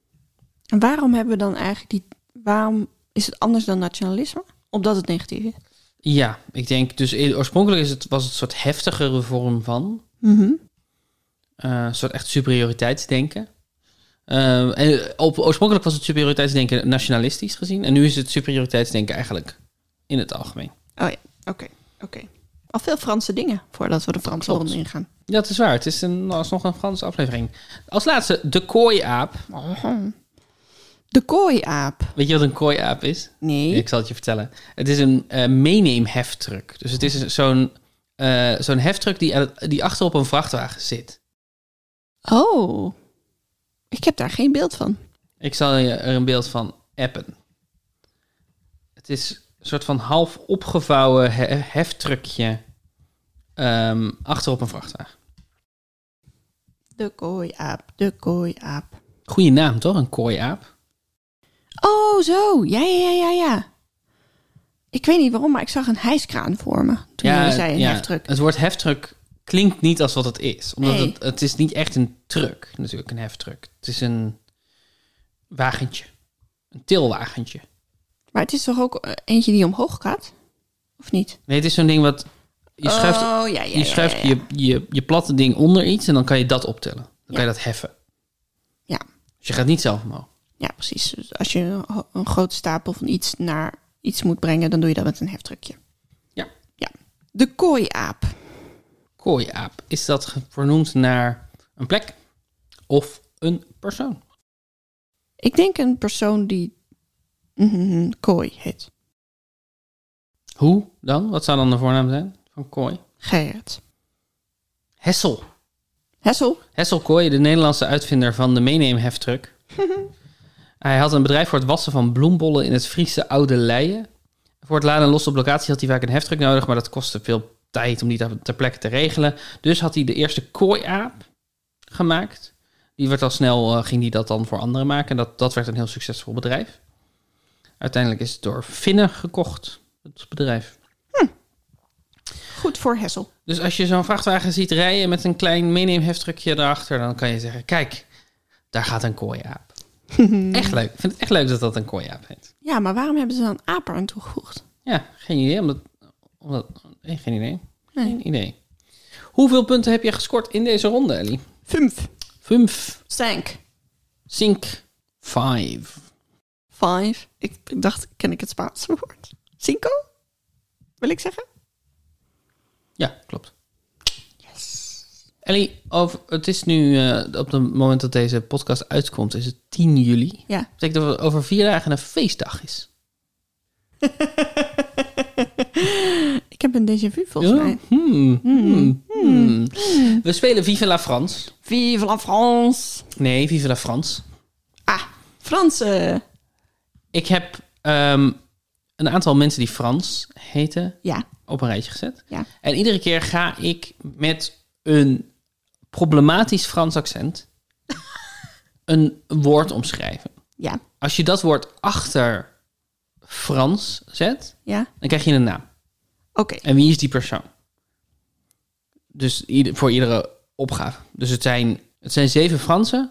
A: En waarom hebben we dan eigenlijk die... Waarom is het anders dan nationalisme? Omdat het negatief is.
B: Ja, ik denk dus e- oorspronkelijk is het, was het een soort heftigere vorm van.
A: Mhm.
B: Eh, een soort echt superioriteitsdenken. Ehm, en op, oorspronkelijk was het superioriteitsdenken nationalistisch gezien. En nu is het superioriteitsdenken eigenlijk in het algemeen.
A: Oh ja, oké. oké. Al veel Franse dingen voordat we de Franse
B: Klopt.
A: ronde ingaan.
B: Dat is waar. Het is een, alsnog een Franse aflevering. Als laatste, de kooiaap.
A: Oh. De kooiaap.
B: Weet je wat een kooiaap is?
A: Nee.
B: Ik zal het je vertellen. Het is een eh meeneemheftruck. Dus het is zo'n eh, zo'n heftruck die, aan het- die achter op een vrachtwagen zit.
A: Oh. Ik heb daar geen beeld van.
B: Ik zal je er een beeld van appen. Het is een soort van half opgevouwen he heftruckje ehm, achter op een vrachtwagen.
A: De kooiaap, de kooiaap.
B: Goeie naam toch? Een kooiaap.
A: Oh, zo. Ja, ja, ja, ja, ja. Ik weet niet waarom, maar ik zag een hijskraan voor me. Toen jij zei een
B: ja,
A: heftruck.
B: Het woord heftruck klinkt niet als wat het is. Omdat
A: Nee.
B: het, het is niet echt een truck, natuurlijk, een heftruck. Het is een wagentje. Een tilwagentje.
A: Maar het is toch ook eh, eentje die omhoog gaat? Of niet?
B: Nee, het is zo'n ding wat... Je schuift,
A: oh, ja, ja,
B: je, schuift
A: ja, ja, ja.
B: Je, je, je platte ding onder iets en dan kan je dat optillen. Dan kan je dat heffen.
A: Ja.
B: Dus je gaat niet zelf omhoog.
A: Ja, precies. Dus als je een, ho- een grote stapel van iets naar iets moet brengen, dan doe je dat met een heftruckje.
B: Ja.
A: Ja. De kooiaap.
B: Kooiaap. Is dat ge- vernoemd naar een plek of een persoon?
A: Ik denk een persoon die Mhm, kooi heet.
B: Hoe dan? Wat zou dan de voornaam zijn van kooi?
A: Gerrit.
B: Hessel.
A: Hessel.
B: Hessel Kooi, de Nederlandse uitvinder van de meeneemheftruck. hij had een bedrijf voor het wassen van bloembollen in het Friese Oude Leien. Voor het laden en lossen op locatie had hij vaak een heftruck nodig, maar dat kostte veel tijd om die ter- ter plekke te regelen. Dus had hij de eerste kooiaap gemaakt. Die werd al snel, eh, ging hij dat dan voor anderen maken. En dat, dat werd een heel succesvol bedrijf. Uiteindelijk is het door Finnen gekocht, het bedrijf.
A: Goed voor Hessel.
B: Dus als je zo'n vrachtwagen ziet rijden met een klein meeneemheftruckje erachter, dan kan je zeggen: kijk, daar gaat een kooiaap. echt leuk. Ik vind het echt leuk dat dat een kooiaap heet.
A: Ja, maar waarom hebben ze dan aap aan toegevoegd?
B: Ja, geen idee. Omdat, omdat, nee, geen idee.
A: Nee.
B: Geen idee. Hoeveel punten heb je gescoord in deze ronde, Ellie?
A: Fumf.
B: Fünf,
A: Stank.
B: sink, five.
A: Five. Ik, ik dacht, ken ik het Spaanse woord? Cinco? Wil ik zeggen?
B: Ja, klopt. Ellie, over, het is nu, eh, op het moment dat deze podcast uitkomt, is het 10 juli.
A: Ja.
B: Dat betekent dat er over vier dagen een feestdag is.
A: Ik heb een déjà vu volgens
B: Ja.
A: mij.
B: Hmm, hmm, hmm. We spelen Vive la France.
A: Vive la France.
B: Nee, Vive la France.
A: Ah, Fransen.
B: Ik heb ehm, een aantal mensen die Frans heten
A: Ja,
B: op een rijtje gezet.
A: ja.
B: En iedere keer ga ik met een problematisch Frans accent een woord omschrijven.
A: Ja,
B: Als je dat woord achter Frans zet,
A: ja.
B: dan krijg je een naam.
A: Oké.
B: En wie is die persoon? Dus ieder, voor iedere opgave. Dus het zijn, het zijn zeven Fransen.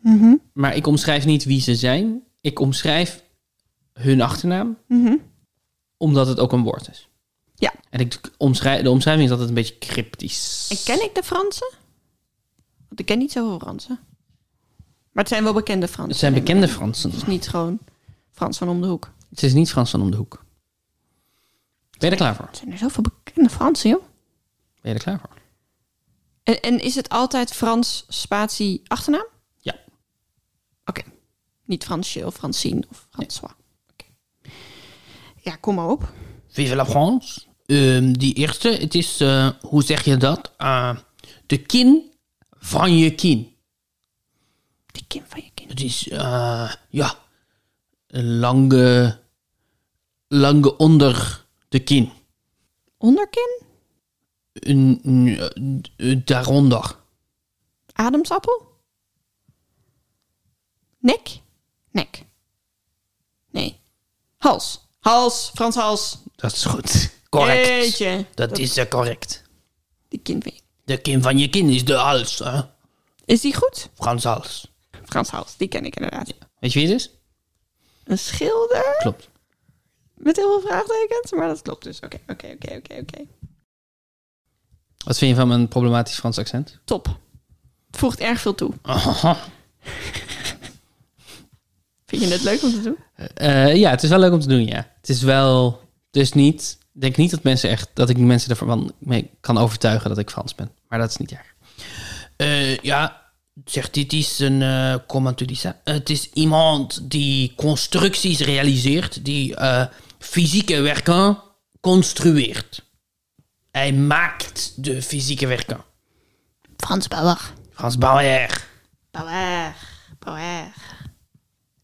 A: Mhm.
B: Maar ik omschrijf niet wie ze zijn. Ik omschrijf hun achternaam. Omdat het ook een woord is.
A: Mhm. Ja.
B: En ik, omschrij- de omschrijving is altijd een beetje cryptisch.
A: En ken ik de Fransen? Want ik ken niet zoveel Fransen. Maar het zijn wel bekende Fransen.
B: Het zijn
A: neem ik
B: bekende
A: aan.
B: Fransen.
A: Het is niet gewoon Frans van om de hoek.
B: Het is niet Frans van om de hoek. Ben je er klaar voor?
A: Er zijn er zoveel bekende Fransen, joh.
B: Ben je er klaar voor?
A: En, en is het altijd Frans spatie achternaam?
B: Ja.
A: Oké. Niet Fransje of Francine of François. Oké. Ja, kom maar op.
B: Vive la France. Ehm, die eerste, het is, eh, hoe zeg je dat? Eh, de kin van je kin.
A: De Kim van je kind.
B: Het is, eh, ja, een lange, lange onder de kin.
A: Onderkin?
B: Een, een, eh, eh, daaronder.
A: Adamsappel? Nek? Nek. Nee. Hals. Hals. Frans hals.
B: Dat is goed. Correct.
A: Jeetje.
B: Dat, is eh, correct.
A: De Kim van je
B: De kin van je kin is de hals, hè?
A: Is die goed?
B: Frans hals.
A: Frans hals. Die ken ik inderdaad.
B: Weet je wie het is?
A: Een schilder?
B: Klopt.
A: Met heel veel vraagtekens, maar dat klopt dus. Oké, oké, oké, oké, oké.
B: Wat vind je van mijn problematisch Frans accent?
A: Top. Het voegt erg veel toe. Vind je het leuk om te doen?
B: Eh, ja, het is wel leuk om te doen, ja. Het is wel, dus niet, ik denk niet dat mensen echt, dat ik mensen ervan mee kan overtuigen dat ik Frans ben. Maar dat is niet erg. Eh, ja, zeg, dit is een, uh, comment tu dis ça? Het is iemand die constructies realiseert, die eh, fysieke werken construeert. Hij maakt de fysieke werken.
A: Frans Bauer.
B: Frans Barrière.
A: Bauer. Bauer.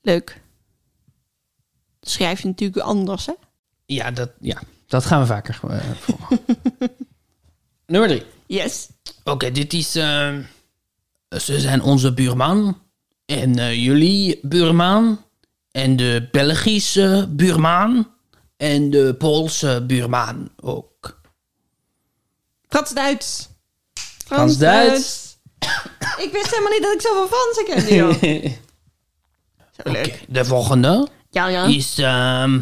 A: Leuk. Schrijf je natuurlijk anders, hè?
B: Ja, dat, ja, dat gaan we vaker eh, volgen. Nummer drie.
A: Yes.
B: Oké, dit is. eh, ze zijn onze buurman. En eh, jullie buurman. En de Belgische buurman. En de Poolse buurman ook.
A: Frans-Duits.
B: Frans-Duits.
A: ik wist helemaal niet dat ik zoveel Fransen kende, joh. Zo leuk.
B: Oké, de volgende
A: Ja, ja.
B: is, ehm,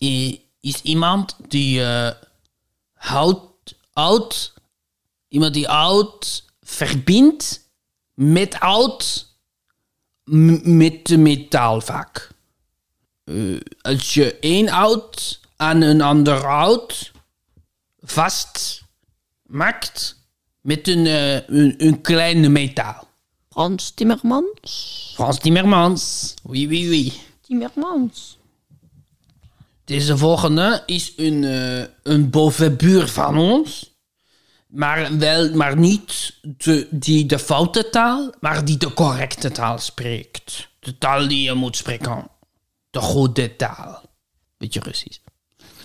B: i- is iemand die eh houdt, oud, iemand die oud verbindt met oud m- met de metaal vaak. Eh, als je één oud aan een ander oud vast maakt met een, eh, een, een kleine metaal.
A: Frans Timmermans.
B: Frans Timmermans. Oui, oui, oui.
A: Timmermans.
B: Deze volgende is een, eh, een bovenbuur van ons. Maar, wel, maar niet de, die de foute taal, maar die de correcte taal spreekt. De taal die je moet spreken. De goede taal. Beetje Russisch.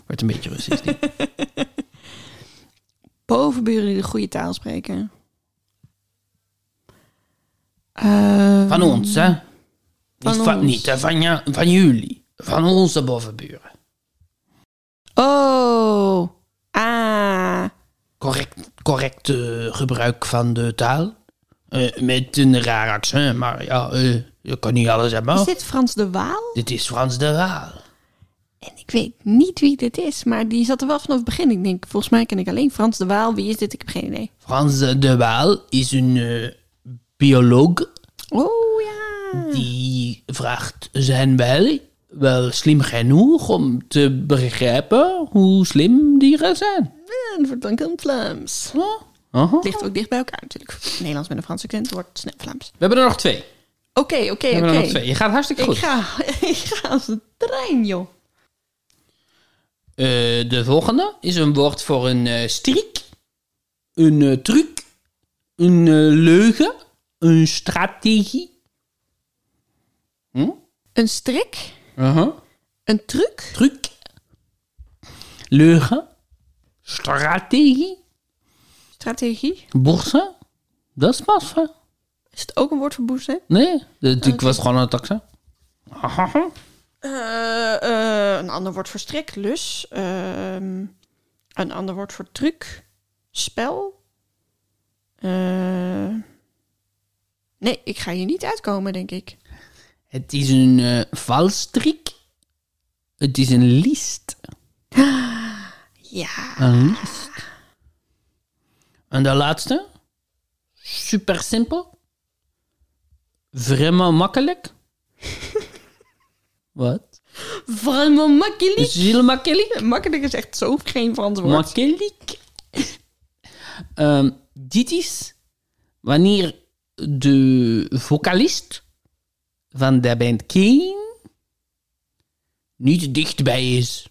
B: Wordt een beetje Russisch. dit.
A: Bovenburen die de goede taal spreken. Eh,
B: Van ons, hè?
A: Van
B: niet van,
A: ons.
B: niet, hè, van, ja, van jullie. Van onze bovenburen.
A: Oh. Ah.
B: Correct, correct eh, gebruik van de taal. Eh, met een raar accent, maar ja, eh, je kan niet alles hebben.
A: Is dit Frans de Waal?
B: Dit is Frans de Waal.
A: En ik weet niet wie dit is, maar die zat er wel vanaf het begin. Ik denk, volgens mij ken ik alleen Frans de Waal. Wie is dit? Ik heb geen idee.
B: Frans de Waal is een eh, bioloog
A: Oh ja.
B: die vraagt: zijn wij wel slim genoeg om te begrijpen hoe slim dieren zijn? Uh-huh.
A: Ja, Dat wordt dan heel Vlaams.
B: Huh? Aha.
A: Ligt ook dicht bij elkaar natuurlijk. Nederlands met een Frans accent wordt snel Vlaams.
B: We hebben er nog twee. We
A: Oké, oké,
B: hebben er nog
A: oké.
B: twee. Je gaat hartstikke
A: Ik
B: goed.
A: ga, ik ga als een trein, joh.
B: Eh, de volgende is een woord voor een eh, strik, een eh, truc, een eh, leugen, een strategie. Hm?
A: Een strik,
B: Aha.
A: een truc,
B: truc, leugen, strategie,
A: strategie.
B: boursen. Dat is pas van.
A: Is het ook een woord voor boezem?
B: Nee, dat ik was gewoon aan het accent.
A: Eh, eh, een ander woord voor strik, lus. Ehm, een ander woord voor truc, spel. Eh, nee, ik ga hier niet uitkomen, denk ik.
B: Het is een eh valstrik. Het is een list.
A: Ja.
B: Een last. En de laatste. Super simpel. Vraiment makkelijk. Wat?
A: Vraiment makkelijk.
B: Heel makkelijk.
A: Dus Makkelijk is echt zo geen Frans woord.
B: Makkelijk. Ehm, dit is wanneer de vocalist van de band Kane niet dichtbij is.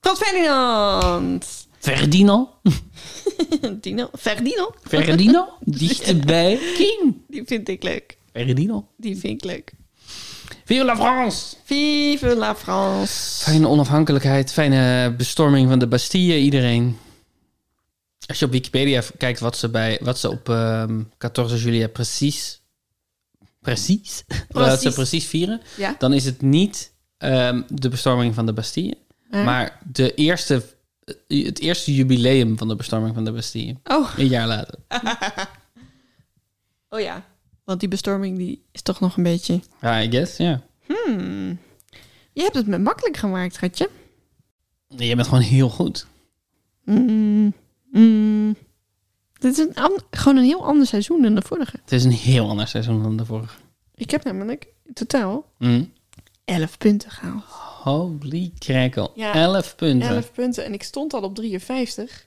A: Frans Ferdinand.
B: Ferdinand.
A: Dino. Ferdinand.
B: Ferdinand. Dichtbij Kane.
A: Die vind ik leuk.
B: Ferdinand.
A: Die vind ik leuk.
B: Vive la France!
A: Vive la France.
B: Fijne onafhankelijkheid, fijne bestorming van de Bastille, iedereen. Als je op Wikipedia v- kijkt wat ze, bij, wat ze op ehm 14 juli precies, precies, wat ze
A: Precies.
B: precies vieren,
A: Ja.
B: dan is het niet ehm, de bestorming van de Bastille,
A: Maar-
B: maar de eerste, eh, het eerste jubileum van de bestorming van de Bastille,
A: Oh.
B: een jaar later.
A: oh ja. Want die bestorming die is toch nog een beetje...
B: Ja, I guess, ja.
A: Hmm. Je hebt het me makkelijk gemaakt, Ratje.
B: Je bent gewoon heel goed.
A: Mm.
B: Hmm.
A: Mm. Dit is een an- gewoon een heel ander seizoen dan de vorige.
B: Het is een heel ander seizoen dan de vorige.
A: Ik heb namelijk in totaal
B: Mm.
A: 11 punten gehaald.
B: Holy crackle.
A: Ja.
B: 11 punten.
A: 11 punten en ik stond al op 53.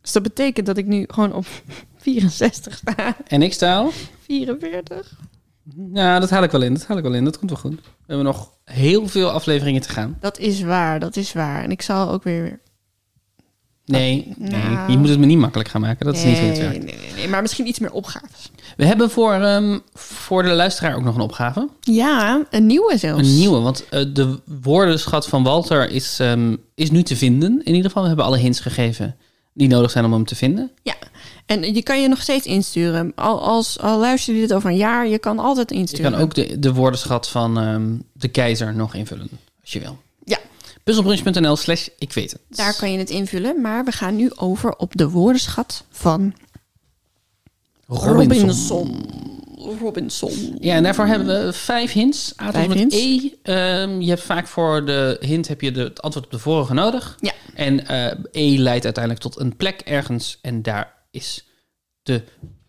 A: Dus dat betekent dat ik nu gewoon op 64 sta.
B: En ik sta al?
A: 44.
B: Ja, dat haal ik wel in. Dat haal ik wel in. Dat komt wel goed. We hebben nog heel veel afleveringen te gaan.
A: Dat is waar, dat is waar. En ik zal ook weer...
B: Nee,
A: Nou.
B: nee, je moet het me niet makkelijk gaan maken. Dat is niet hoe het
A: nee,
B: werkt.
A: nee, nee, nee, maar misschien iets meer opgaves.
B: We hebben voor, ehm, voor de luisteraar ook nog een opgave.
A: Ja, een nieuwe zelfs.
B: Een nieuwe, want eh, de woordenschat van Walter is, ehm, is nu te vinden. In ieder geval, we hebben alle hints gegeven die nodig zijn om hem te vinden.
A: Ja, en je kan je nog steeds insturen. Al, als, al luister je dit over een jaar, je kan altijd
B: Je
A: insturen.
B: kan ook de, de woordenschat van ehm, de keizer nog invullen, als je wil.
A: Ja.
B: Puzzelbrunch.nl slash ik weet het.
A: Daar kan je het invullen, maar we gaan nu over op de woordenschat van Robinson. Robinson.
B: Ja, en daarvoor hebben we vijf hints. A tot
A: Vijf
B: en met
A: hints.
B: E. Ehm, je hebt vaak voor de hint heb je de, het antwoord op de vorige nodig.
A: Ja.
B: En eh, E leidt uiteindelijk tot een plek ergens. En daar is de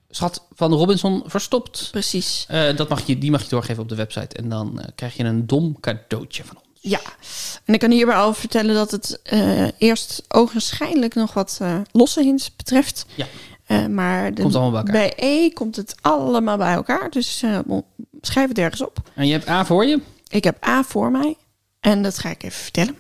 B: schat van Robinson verstopt.
A: Precies.
B: Eh, dat mag je, die mag je doorgeven op de website. En dan eh, krijg je een dom cadeautje van ons.
A: Ja, en ik kan hierbij al vertellen dat het eh, eerst ogenschijnlijk nog wat eh, losse hints betreft.
B: Ja.
A: Eh, maar de,
B: Komt allemaal bij elkaar.
A: E komt het allemaal bij elkaar. Dus eh, schrijf het ergens op.
B: En je hebt A voor je.
A: Ik heb A voor mij en dat ga ik even vertellen.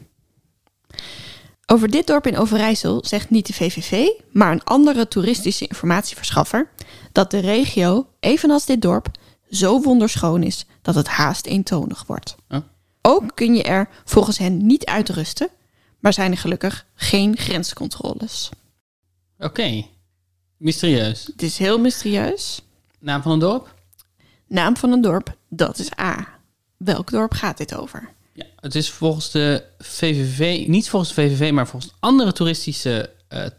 A: Over dit dorp in Overijssel zegt niet de VVV, maar een andere toeristische informatieverschaffer dat de regio, evenals dit dorp, zo wonderschoon is dat het haast eentonig wordt.
B: Huh?
A: Ook kun je er volgens hen niet uitrusten, maar zijn er gelukkig geen grenscontroles.
B: Oké. Mysterieus.
A: Het is heel mysterieus.
B: Naam van een dorp?
A: Naam van een dorp, dat is A. Welk dorp gaat dit over?
B: Ja, het is volgens de VVV, niet volgens de VVV, maar volgens andere toeristische eh, eh,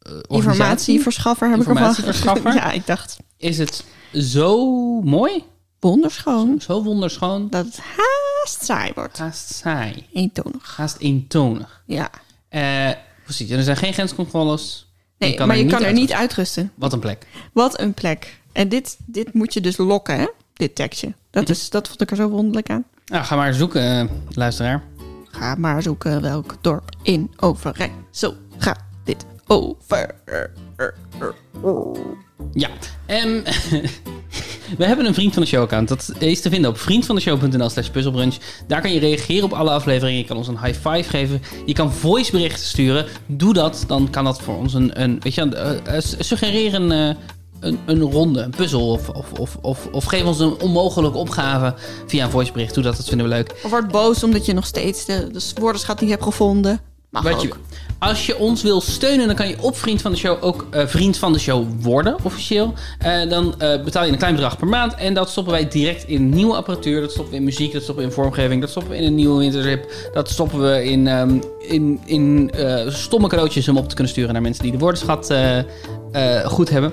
B: organisaties
A: Informatieverschaffer heb ik ervan.
B: Informatieverschaffer.
A: ja, ik dacht,
B: is het zo mooi,
A: wonderschoon
B: zo wonderschoon,
A: dat het haast saai wordt.
B: haast saai,
A: Eentonig.
B: haast eentonig.
A: Ja.
B: Eh, precies, en er zijn geen grenscontroles.
A: Nee, maar je kan er
B: uit-
A: niet uitrusten.
B: Wat een plek.
A: Wat een plek. En dit, dit moet je dus lokken, hè? Dit tekstje. Dat, is, dat vond ik er zo wonderlijk aan.
B: Nou, ga maar zoeken, eh, luisteraar.
A: Ga maar zoeken welk dorp in Overijssel gaat dit over.
B: Ja, ehm, we hebben een Vriend van de Show account. Dat is te vinden op vriendvandeshow.nl slash puzzelbrunch. Daar kan je reageren op alle afleveringen. Je kan ons een high five geven. Je kan voiceberichten sturen. Doe dat, dan kan dat voor ons een... een weet je, een- eh, eh, suggereer een, eh, een, een ronde, een puzzel. Of, of, of, of, of geef ons een onmogelijke opgave via een voicebericht. Doe dat, dat vinden we leuk.
A: Of word boos omdat je nog steeds de, de woordenschat niet hebt gevonden. Mag
B: Wat
A: ook.
B: je- als je ons wil steunen, dan kan je op Vriend van de Show ook eh, Vriend van de Show worden, officieel. Eh, dan eh, betaal je een klein bedrag per maand. En dat stoppen wij direct in nieuwe apparatuur. Dat stoppen we in muziek, dat stoppen we in vormgeving, dat stoppen we in een nieuwe wintertrip. Dat stoppen we in, ehm, in, in eh, stomme cadeautjes om op te kunnen sturen naar mensen die de woordenschat eh, eh, goed hebben.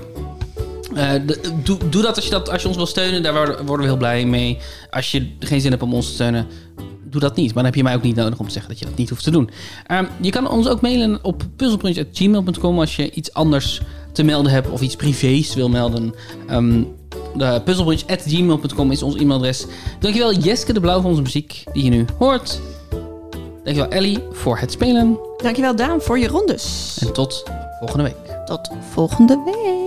B: Eh, de- doe, doe dat als je dat als je ons wil steunen. Daar worden, worden we heel blij mee. Als je geen zin hebt om ons te steunen, doe doe dat niet. Maar dan heb je mij ook niet nodig om te zeggen dat je dat niet hoeft te doen. Ehm, je kan ons ook mailen op puzzelbrunch.gmail.com als je iets anders te melden hebt of iets privés wil melden. Ehm de puzzelbrunch.gmail.com is ons e-mailadres. Dankjewel Jeske de Blauw voor onze muziek die je nu hoort. Dankjewel Ellie voor het spelen.
A: Dankjewel Daan voor je rondes.
B: En tot volgende week.
A: Tot volgende week.